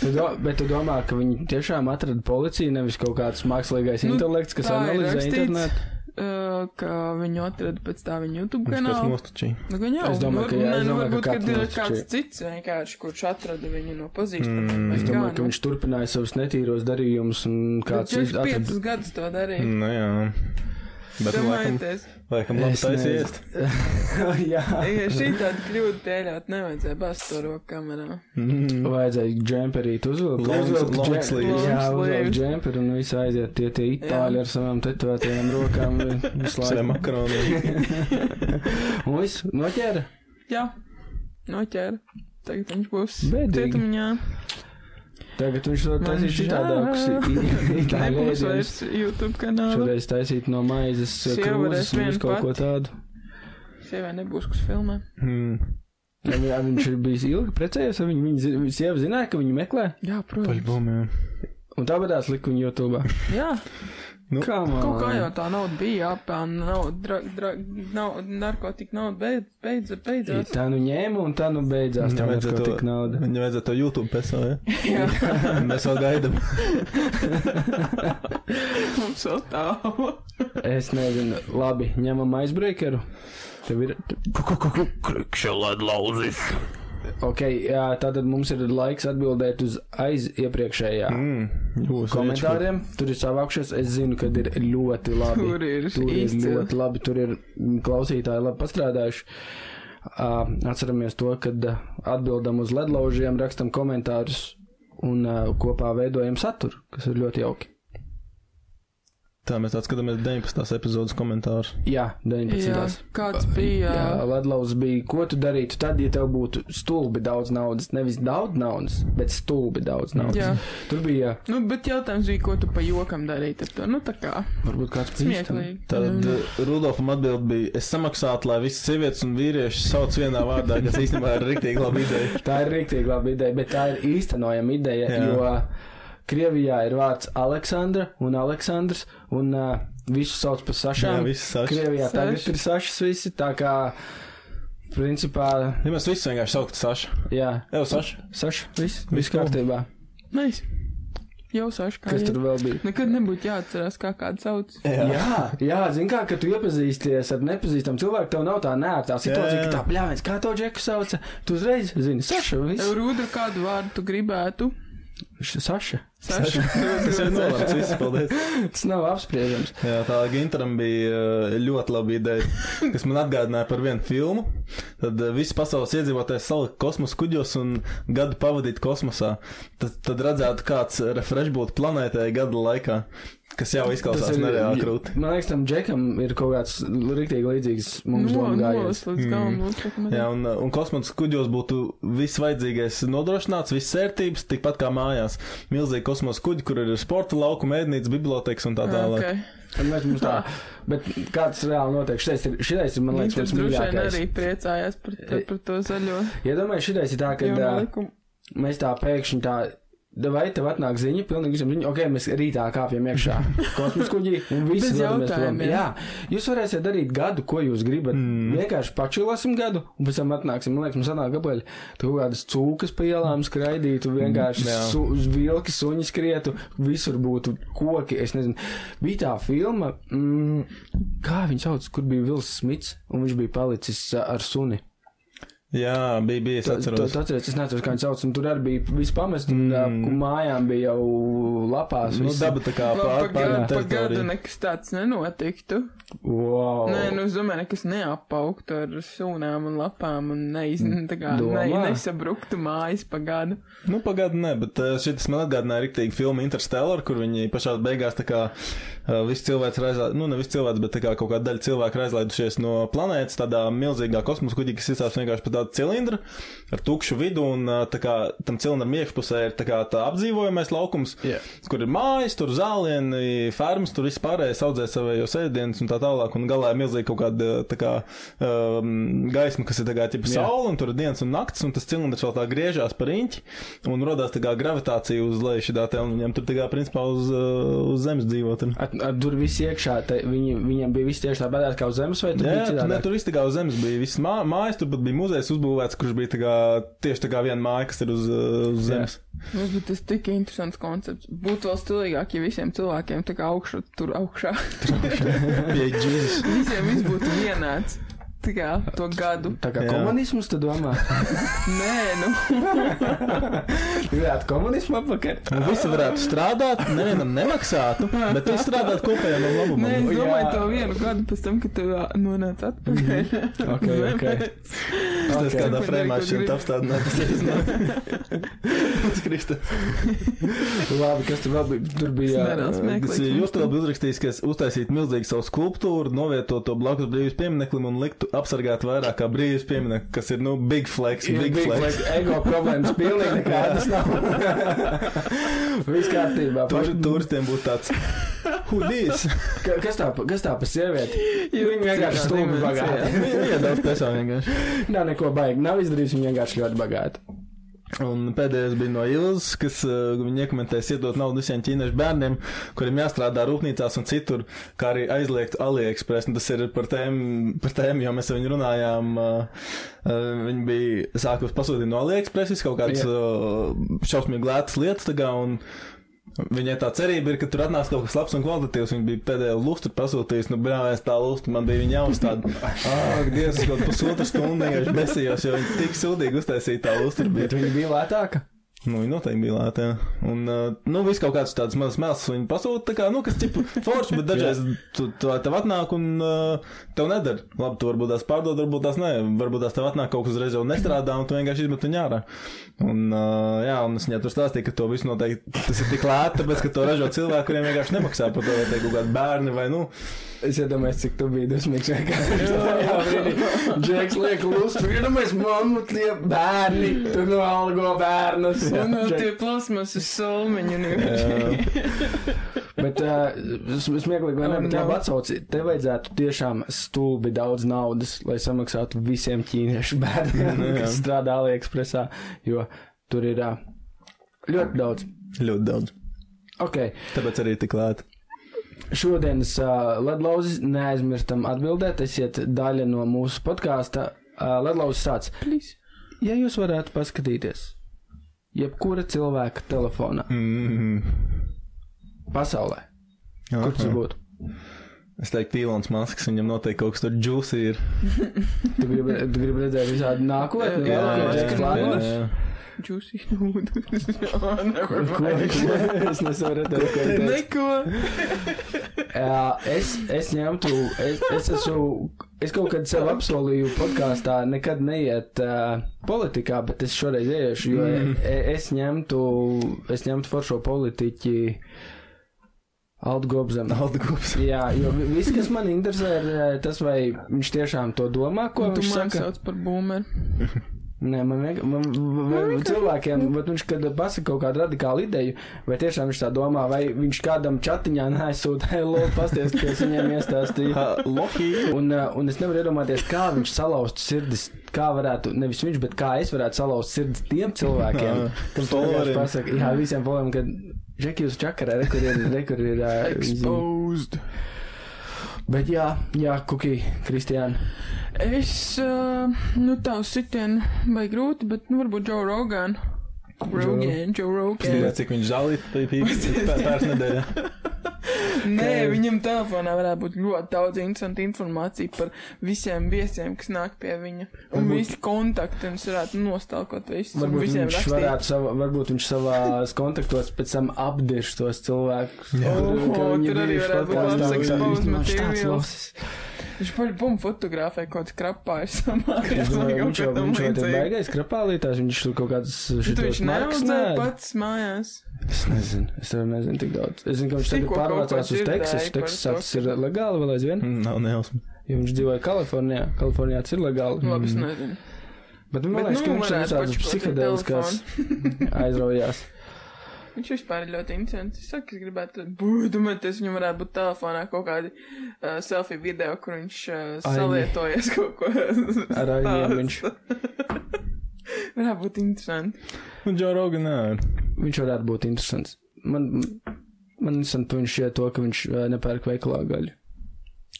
S2: Tu do, bet tu domā, ka viņi tiešām atrada policiju, nevis kaut kāds mākslīgais nu,
S3: Nu,
S2: intelekts, kas
S3: tā ir
S2: analizē
S3: rakstīts.
S2: internetu?
S3: Uh, ka viņu atrada pēc tā viņa YouTube
S1: Viņš pats
S3: kanāla.
S1: mostačīja.
S3: Nu, gan jau,
S2: Es domāju,
S3: nu,
S2: ka jā,
S3: nē,
S2: es
S3: nu,
S2: domāju, ka
S3: varbūt, ka
S2: kāds
S3: ir
S2: nošķir-
S3: kāds cits vienkārši, kurš atrada viņu no pazīstamiem.
S1: Mm.
S3: vai
S2: Es
S3: kā,
S2: domāju, ka
S3: nu.
S2: viņš turpināja savus netīros darījumus un kāds
S3: Bet
S2: iz- Mm,
S3: viņš
S2: atrada.
S3: piecus gadus to darīja.
S1: Nu jā. Bet nu, laikam,
S3: Domājieties,
S1: laikam labi
S2: Es nezinu.
S1: taisies.
S2: Jā.
S3: ja šī tāda kļūda pieļaut nevajadzēja bāzt to roku kamerā.
S1: Mhm.
S2: Vajadzēja džemperīt uzvilkt.
S1: Long-
S2: uzvilkt
S1: long
S2: džem-
S1: sleeve.
S2: Jā,
S3: Long
S2: uzvilkt
S3: sleeve.
S2: džemperu un visi aiziet tie tie itāļi
S3: Jā.
S2: ar savām tetovētajām rokām. visu
S1: Sēm
S2: laiku.
S1: makaroni.
S2: Un viss noķēra.
S3: Jā, noķēra. Nu, Tagad viņš būs
S2: Bēdīgi.
S3: cietumiņā.
S2: Tagad viņš to
S3: Man
S2: taisīs citādākus
S3: žēl.
S2: i- itāļu
S3: Nebūs
S2: ēdienus.
S3: vairs YouTube kanāla.
S2: Šoreiz taisīt no maizes
S3: Sieva
S2: krūzes
S3: varēs
S2: un
S3: viena
S2: visu kaut ko
S3: pati.
S2: tādu.
S3: Sievai nebūs, kas filmē.
S1: Mhm.
S2: Ja vi- ja viņš ir bijis ilgi precējies ar viņu. Viņa zi- viņa sieva zināja, ka viņu meklē.
S3: Jā, protams.
S1: Paļbom, jā.
S2: Un tāpēc lika viņu YouTube.
S3: Jā,
S1: Nu,
S3: kaut kā jau tā nauda bija jāpelna, nauda, dra, dra, nauda, narkotika nauda beidz, beidz, beidzās.
S2: Tā nu ņēma un tā nu beidzās. Tā
S1: Viņam
S2: vajadzēja
S1: vajadzētu
S2: to tik naudu.
S1: Viņam vajadzētu to YouTube pesā, ja?
S3: Jā,
S1: Mēs vēl gaidām.
S3: mums vēl tālu.
S2: Es nezinu, labi, ņemam aizbreakeru. Tev ir.
S4: Krikšelēd lauzis.
S2: Ok, jā, tātad mums ir laiks atbildēt uz aiz iepriekšējā.
S1: Mm, Jūs
S2: Komentāriem tur ir savākšies. Es zinu, ka ir ļoti labi.
S3: Tur ir
S2: tur ir
S3: izcili.
S2: ļoti labi. Tur ir mm, klausītāji labi pastrādājuši. Uh, atceramies to, kad uh, atbildam uz ledlaužiem, rakstam komentārus un uh, kopā veidojam saturu, kas ir ļoti jauki.
S1: Tā mēs atskatāmies 19. epizodes komentārus.
S2: Jā, 19.
S3: Jā, kāds bija?
S2: Jā, Ledlaus bija, ko tu darītu tad, ja tev būtu stulbi daudz naudas? Nevis daudz naudas, bet stulbi daudz naudas.
S3: Jā.
S2: Tur bija
S3: Nu, bet jautājums bija, ko tu pa jokam darītu ar to? Nu, tā kā
S2: varbūt kāds pīksts.
S3: smieklīgi.
S1: Tad
S3: Nu,
S1: mm. Rudolfam atbild bija, es samaksātu, lai visas sievietes un vīrieši sauc vienā vārdā, kas īstenībā ir rīktīgi laba ideja.
S2: Tā ir rīktīgi laba ideja, bet tā ir īstenojama ideja,
S1: Jā.
S2: jo Krievijā ir vārds Aleksandra un Aleksandrs, un uh, visus sauc par
S1: Jā,
S2: Sašām.
S1: viss sauc.
S2: Krievijā
S3: Saša.
S2: tagad ir Sašas visi, tā kā principā,
S1: Ja mēs visus vienkārši sauktu Saša.
S2: jā,
S1: Evo, Saša.
S2: Saša, viss,
S1: Viss
S2: viss kārtībā.
S3: Nice. nu, Jau sašu kā.
S2: Kas
S3: iet.
S2: tur vēl bija?
S3: Nekad nebūtu jāatcerās, kā kāds sauc.
S2: Jā, jā zinām, kā kad tu iepazīsties ar nepazīstamu cilvēku, tev nav tā nērtā situācija,
S1: Jā, jā.
S2: ka tā pļāvis, kā to džeku sauc. Tu uzreiz zini, Saša,
S3: Tev
S2: viss.
S3: rūda, kādu vārdu tu gribētu.
S2: Š- Saša.
S3: Sašu.
S1: Tas ir nolēmts, viss, paldies.
S2: Tas nav apspriežams.
S1: Jā, tā Ginteram bija uh, ļoti laba ideja, kas man atgādināja par vienu filmu. Tad uh, visi pasaules iedzīvotāji salika kosmosa kuģos un gadu pavadīt kosmosā. Tad, tad redzētu, kāds refresh būtu planētai gada laikā, kas jau izklausās nereāli krūti.
S2: Man liekas, tam džekam ir kaut kāds rīktīgi līdzīgs mums
S3: No,
S2: domām
S3: no,
S2: gājiens.
S3: līdz galam. būs tā, ka man-
S1: Jā, un, uh, un kosmosa kuģos būtu viss vajadzīgais nodrošināts, viss sērtības, tikpat kā mājās. Milzīgi kosmosa kuģi, kur ir sporta laukuma, ēdnīca, bibliotekas un tā tālāk.
S3: Ok.
S2: Un mēs mums tā. Bet kāds reāli notiek? Šitais ir, šitais ir man liekas,
S3: Viņš
S2: pats
S3: droši vien
S2: mīļākais.
S3: arī priecājās par, par, par to zaļo
S2: Ja domāju, šitais ir tā, ka
S3: jaunu likumu.
S2: mēs tā pēkšņi tā Vai tev atnāk ziņa, pilnīgi visiem ziņa, ok, mēs rītā kāpjam iekšā kosmosa kuģī un visi
S3: Bez
S2: dodamies prom.
S3: jautājumiem.
S2: Jā, jūs varēsiet darīt gadu, ko jūs gribat. Mm. Vienkārši pačulāsim gadu, un pēc tam atnāksim. Man liekas, mums atnāk gabaļi, tu kaut kādas cūkas pa ielām skraidītu, vienkārši
S1: jā.
S2: su, vilki, suņi skrietu, visur būtu koki. Es nezinu, bija tā filma, mm, kā viņš sauc, kur bija Vils Smits, un viņš bija palicis ā, ar suni.
S1: Jā, bija, bija, es
S2: Tu
S1: atceros.
S2: atceries, es nezinu, kā viņš sauc, un tur arī bija viss pamests, un mm. mājām bija jau lapās.
S1: Nu,
S2: visi.
S1: daba tā kā pār, pār,
S3: Pagaidā, pagaidā, nekas tāds nenotiktu.
S2: Wow.
S3: Nē, nu, es domāju, nekas neapaugtu ar sūnām un lapām un neiz, tā kā, ne,
S2: Domā?
S3: nesabruktu mājas pagādu.
S1: Nu, pagaidu, nē, bet eh, šitas man atgādināja rīktīgi filmu Interstellar, kur viņi pašā beigās tā kā eh, viss cilvēks raizlaidušies, nu, nevis cilvēks, bet tā kā kaut kāda daļa cilvēku raizlaidušies no planētas tādā milzīgā kosmosa kuģī, kas izsācis vienkārši pa tādu cilindru ar tukšu vidu, un eh, tā kā tam cilindram iekšpusē ir tā kā tā apdzīvojamais laukums,
S2: Jā.
S1: kur ir mājas, tur zālieni, fermas, tur vispārējais audzē savējos ēdienus un tā tālāk, un galā ir milzīga kaut kāda eh, tā kā um, gaisma, kas ir tā kā tipa
S2: Jā.
S1: saule, un tur ir dienas un naktis, un tas cilindrs vēl tā griežās par riņķi, un radās tā kā gravitācija uz leju šitā te, un viņam tur tā kā principā uz, uh, uz zemes dzīvot. ir.
S2: At, at, tur viss iekšā, te, viņi, viņiem bija viss tieši tāpat kā uz zemes, vai
S1: Jā,
S2: tur
S1: jā,
S2: bija
S1: tur, ne,
S2: citādāk?
S1: tur viss tā kā uz zemes bija. Viss mā, mājas, tur pat bija muzejs uzbūvēts, kurš bija tā kā, tieši tā kā viena māja, kas ir uz, uh, uz
S2: Jā.
S1: zemes.
S3: Nu, bet tas tik interesants koncepts. Būtu vēl stilīgāk, ja visiem cilvēkiem tā kā augšu, tur augšā.
S1: Pie Jēzus.
S3: visiem viss būtu vienāds. Tā kā to gadu.
S2: Tā kā
S1: Jā.
S2: jā. komunismus, tu domā?
S3: Nē, nu.
S2: Gribētu komunismu apakaļ.
S1: Un visi varētu strādāt, nevienam nemaksātu, bet viņi strādātu kopējam labumam.
S3: Nē, es
S2: Jā.
S3: domāju, to vienu gadu pēc tam, kad tu ā, nonāc atpakaļ.
S2: Mhm. Ok, ok.
S1: Tas
S2: Okay.
S1: kādā
S3: Kur
S1: frēmā
S3: neko
S1: šim
S3: grib.
S1: apstādinājums ir.
S2: Labi, kas tur vēl bija? Tur bija.
S3: Es neredzu. Smieklīgs
S1: Tas ir
S3: mums
S1: jūs vēl bija uzrakstījis, ka es uztaisītu milzīgu savu skulptūru, novietotu to blakus brīvības piemineklim un liktu apsargāt vairāk kā brīvības pieminekli, kas ir, nu, big flex,
S2: Ir
S1: big
S2: big
S1: flex.
S2: flag, ego problēmas pilnīgi nekādas nav. Viss kārtībā.
S1: Tur,
S2: Paši-
S1: turistiem būtu tāds hudijs.
S2: Ka- Kas tā, pa- kas tā pa sievieti? Viņa Nu, vienkārši stūmi bagāti.
S1: Jā, daudz pesām vienkārši.
S2: Nav neko baigi. Nav izdarījis viņa vienkārši ļoti bagāti.
S1: Un pēdējais bija no Ilzas, kas uh, viņa iekomentēs iedot naudu visiem ķīniešu bērniem, kuriem jāstrādā rūpnīcās un citur, kā arī aizliegt AliExpress. Un tas ir par tēmu, par tēmu jo mēs ar viņu runājām. Uh, uh, viņa bija sākus pasūtīt no AliExpress visu kaut kādas
S2: Jā.
S1: uh, šausmīgi lētas lietas. tā kā, un Viņai tā cerība ir, ka tur atnāks kaut kas labs un kvalitatīvs. Viņa bija pēdējo lustru pasūtījusi, nu, brālēs tā lustru man bija viņa jāuzstāda. Ak, Dievs, es kaut pusotru stundu vienkārši besījos, jo viņa tik sūdīgi uztaisīja tā lustru.
S2: Bet viņa bija lētāka.
S1: Nu, viņa noteikti bija lēta. jā. Un, uh, nu, viss kaut kāds tāds mazs mēls, viņa pasūta, tā kā, nu, kas tipu forši, bet dažreiz tu, tu, tev atnāk un uh, tev nedara. Labi, tu varbūt tās pārdod, varbūt tās nē, varbūt tās tev atnāk kaut kas uzreiz jau nestrādā un tu vienkārši izmet viņu ārā. Un, uh, jā, un es viņai tur stāstīju, ka to visu noteikti, tas ir tik lēti, tāpēc, ka to ražo cilvēki, kuriem vienkārši nemaksā par to, vai te kaut kādi bērni vai, nu,
S2: Es iedomājos, cik tu biji dusmīgs. Džeks liek lūstu, iedomājies, mammu, tie bērni, tu no algo bērnus.
S3: Un no
S2: Džek-
S3: Nu, tie plasmasas solmiņi. nu.
S1: uh,
S2: Bet uh, smieklīgi, vai ne?
S3: Oh,
S2: Bet
S3: no.
S2: labi atsauci, te vajadzētu tiešām stulbi daudz naudas, lai samaksātu visiem ķīniešu bērniem,
S1: Nu, jā.
S2: kas strādā Aliekspresā, jo tur ir uh, ļoti daudz.
S1: ļoti daudz.
S2: Ok,
S1: Tāpēc arī tik lēti.
S2: šodienas uh, ledlauzis neaizmirstam atbildēt, esiet daļa no mūsu podkāsta. Uh, ledlauzis sāc.
S3: Please.
S2: Ja jūs varētu paskatīties, jebkura cilvēka telefonā
S1: Mm -hmm.
S2: pasaulē, kur tas būtu?
S1: Es teiktu, Pīlons Masks, viņam noteikti kaut kas tur džūsi ir.
S2: Tu gribi tu gribi redzēt visādi nākotnē,
S3: Jā,
S2: vēlākos
S3: jā, jā,
S2: plānus?
S3: Juicy noodles. Jā, never
S2: Ko-
S3: mind.
S2: ko- Es nesaprotu, ko tu teici.
S3: Neko.
S2: Jā, Es, es ņemtu, es, es esmu, es kaut kad sev apsolīju podkāstā, nekad neiet uh, politikā, bet es šoreiz ieiešu, jo mm. es ņemtu, es ņemtu foršo politiķi Aldu Gobzem.
S1: Nauda gups.
S2: Jā, jo vi- viss, kas man interesē, ir eh, tas, vai viņš tiešām to domā, ko
S3: Nu, Tu
S2: viņš
S3: man
S2: saka.
S3: sauc par boomeru.
S2: Nē, man vienkārši, man, man
S3: Man Nu, vienkārši- Nu.
S2: cilvēkiem, bet viņš, kad pasaka kaut kādu radikālu ideju, vai tiešām viņš tā domā, vai viņš kādam čatiņā nesūta, hei, lūk, pasties, ka es viņiem iestāstīju.
S1: Ha, Loki.
S2: Un, uh, un es nevaru iedomāties, kā viņš salauztu sirdis, kā varētu, nevis viņš, bet kā es varētu salauzt sirdis tiem cilvēkiem,
S1: Jā,
S2: kas
S1: followeriem.
S2: pasaka, jā, visiem poliem, kad Džeki jūs čakarē, re, kur ir, re, kur ir. ā, zini.
S3: Exposed.
S2: Bet jā, jā, kuki, Kristiāna.
S3: Es, uh, nu, tavu sitienu vai grūti, bet, nu, varbūt Joe Rogan. Rogan, Joe Rogan.
S1: Ziniet, cik viņš žāli pērts nedēļā.
S3: Nē, viņam telefonā varētu būt ļoti daudz interesanta informācija par visiem viesiem, kas nāk pie viņa. Un
S2: Varbūt-
S3: visi kontakti, un viņš varētu nostalkot visus. un
S2: Varbūt
S3: visiem
S2: viņš, varētu savā, varbūt viņš savā kontaktos pēc tam apdirš tos cilvēkus.
S1: Jā.
S2: Ka
S3: Oho,
S2: viņi
S3: tur arī
S2: bijuši
S3: varētu būt
S2: podkāstā,
S1: labs
S2: viņi
S1: exposed
S2: vismaz tāds
S3: materials.
S2: loses.
S3: Viņš paļ bum fotografē kaut kāds krapājs.
S2: Es domāju, Viņš jau viņš jau ir
S3: Viņš
S2: baigais krapālītājs, viņš tur kaut kāds šitos marks
S3: neraudzē
S2: nēd.
S3: pats mājās.
S2: Es nezinu, es tev nezinu tik daudz. Es zinu, ka viņš tagad
S3: Tikko kaut ko
S2: pārvācās uz
S3: dzirdēju
S2: Teksasu.
S3: par
S2: Teksasā
S3: to, Mhm.
S2: tas ir legāli vēl aizvien,
S1: Nav nejausmas.
S2: jo viņš dzīvoja Kalifornijā. Kalifornijā tas ir legāli. Mhm.
S3: Labi, es nezinu.
S2: Bet man liekas, ka
S3: nu,
S2: viņš ir
S3: varētu
S2: tāds
S3: paču
S2: psihedēliskās aizraujās.
S3: Viņš vispār ir ļoti interesants. Es saku, es gribētu, būt, domāju, tas viņam varētu būt telefonā kaut kādi uh, selfie video, kur viņš uh,
S2: Ai,
S3: salietojies kaut ko.
S2: Ar aļiem viņš.
S3: Varētu būt interesanti.
S1: Un Džo Rogan, nē.
S2: Viņš varētu būt interesants. Man, man interesanti, ka viņš šie to, ka viņš eh, nepērk veikalā gaļu.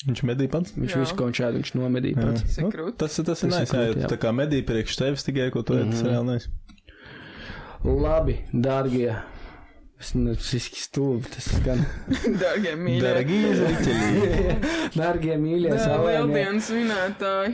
S1: Viņš medī pats.
S2: Viņš
S3: Jā.
S2: visu, ko viņš ēd, viņš nomedīja pats.
S3: Tas ir
S1: Nu,
S3: krūti.
S1: Tas, tas ir
S2: Tas ir
S1: nice, jā,
S2: krūti,
S1: ja
S2: jā.
S1: tu tā kā medī priekš tevis tikai, ko tu ej, tas ir reāli nice.
S2: Labi, dārgie. Es nezinu, stulbi tas skan.
S3: Dārgie Mhm. mīļie.
S1: Dargi zriķeļi.
S2: Dārgie mīļie,
S3: Jā,
S2: saulēnie.
S3: Lieldienas svinētāji.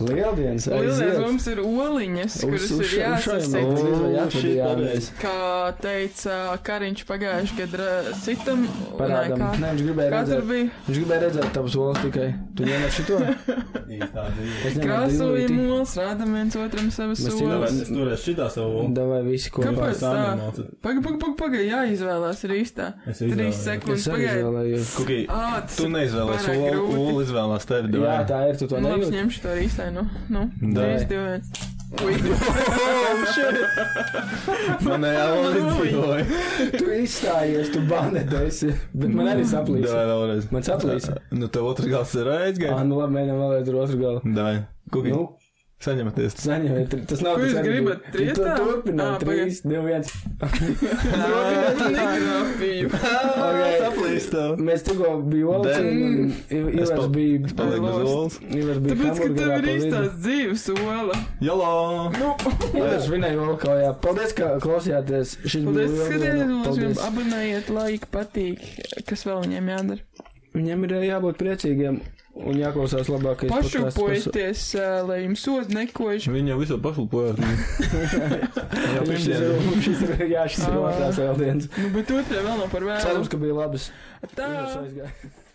S2: Lieldienas.
S3: Lieldienas
S2: aiziet.
S3: mums ir oliņas,
S2: Uz-
S3: kuras
S2: uz-
S3: ir
S2: uz šaujam,
S3: jāsasīt.
S2: uz- uz- uz-
S1: Ū,
S2: atvedījām.
S1: šī pareizi.
S3: Kā teica Kariņš pagājuši gadu sitam,
S2: Parādām.
S3: kā,
S2: Nē, viņš gribēja
S3: kā tur
S2: redzēt.
S3: bija
S2: Viņš gribēja redzēt tavus olas tikai. Tu ņem šito.
S1: Īstā dzīve.
S2: Es ņemu
S3: krāsojam
S2: dillīti.
S3: olas, rādam viens otram savas
S2: Mēs
S3: olas.
S1: Tāpēc es turēšu šitā savu.
S2: Davai visi kopā.
S3: Kāpēc?
S1: Tāpēc tā
S3: tā.
S1: nemācu.
S3: Pagaid, pagaid, pagaid, paga, jāizvēlās ir īstā.
S1: Es
S3: Trīs
S1: izvēlējos.
S3: sekundes
S2: Es arī
S3: pagaid.
S2: vēlējos.
S1: Kuki,
S3: Ā, tas
S1: tu
S3: ir
S1: neizvēlējies,
S3: pārāk grūti.
S1: Ulu izvēlās tevi.
S2: Jā,
S1: davai.
S2: tā ir. Tu to
S3: Nu, Labi, es
S2: nejūti.
S3: ņemšu to ar īstai, nu, nu,
S1: Dai.
S3: trīs, divi, viens.
S1: Man jau izdzīvoja.
S2: Tu izstājies, tu banedēsi. Bet man arī saplīs.
S1: Davai vēlreiz.
S2: Man saplīsa.
S1: Nu, tev otrs gals ir
S2: Ah,
S1: aizgājis.
S2: nu labi, mēģinām vēlreiz ar otru galu.
S1: Davai. Kuki,
S2: Nu,
S1: saņematies.
S2: saņemiet, tas nav
S3: Ko
S2: tas
S3: jūs
S2: arī.
S3: gribat? Ah,
S2: Tu to
S3: Trietā?
S2: Turpinām,
S3: Ā,
S2: 3, 2, 1.
S3: Negrāpīju.
S2: Ok.
S1: Saplīst tev.
S2: Mēs tikko bijām olas,
S1: Dai.
S2: un Iv-
S1: Es
S2: Ivars
S1: pa-
S2: bija.
S1: Paliek bez olas.
S2: Ivars bija.
S3: Tāpēc, ka tev
S2: hamburgerā
S3: ir
S2: pa vidu.
S3: īstās dzīves ola.
S1: Jolo!
S3: Nu,
S2: Jā, es vinēju Olkaujā. Paldies, ka klausījāties. Šis bija
S3: Nu, paldies,
S2: liels diena.
S3: skatījāties,
S2: Paldies.
S3: abonējiet, laika patīk, kas vēl viņiem jādara.
S2: Viņam ir jābūt priecīgiem un jāklausās labākais. podcasts par so-
S3: Pašupojoties, lai jums sodu nekož.
S1: Viņa visu pašlupoja. Jā,
S2: Šis ir-
S1: pirmdien.
S2: Šis ir jā, šis ir
S3: Ā.
S2: otrās vēl dienas.
S3: Nu, bet otrē vēl nav par vēlu.
S2: Cerams, ka bija labas.
S3: Tā.
S2: Ivars aizgāja.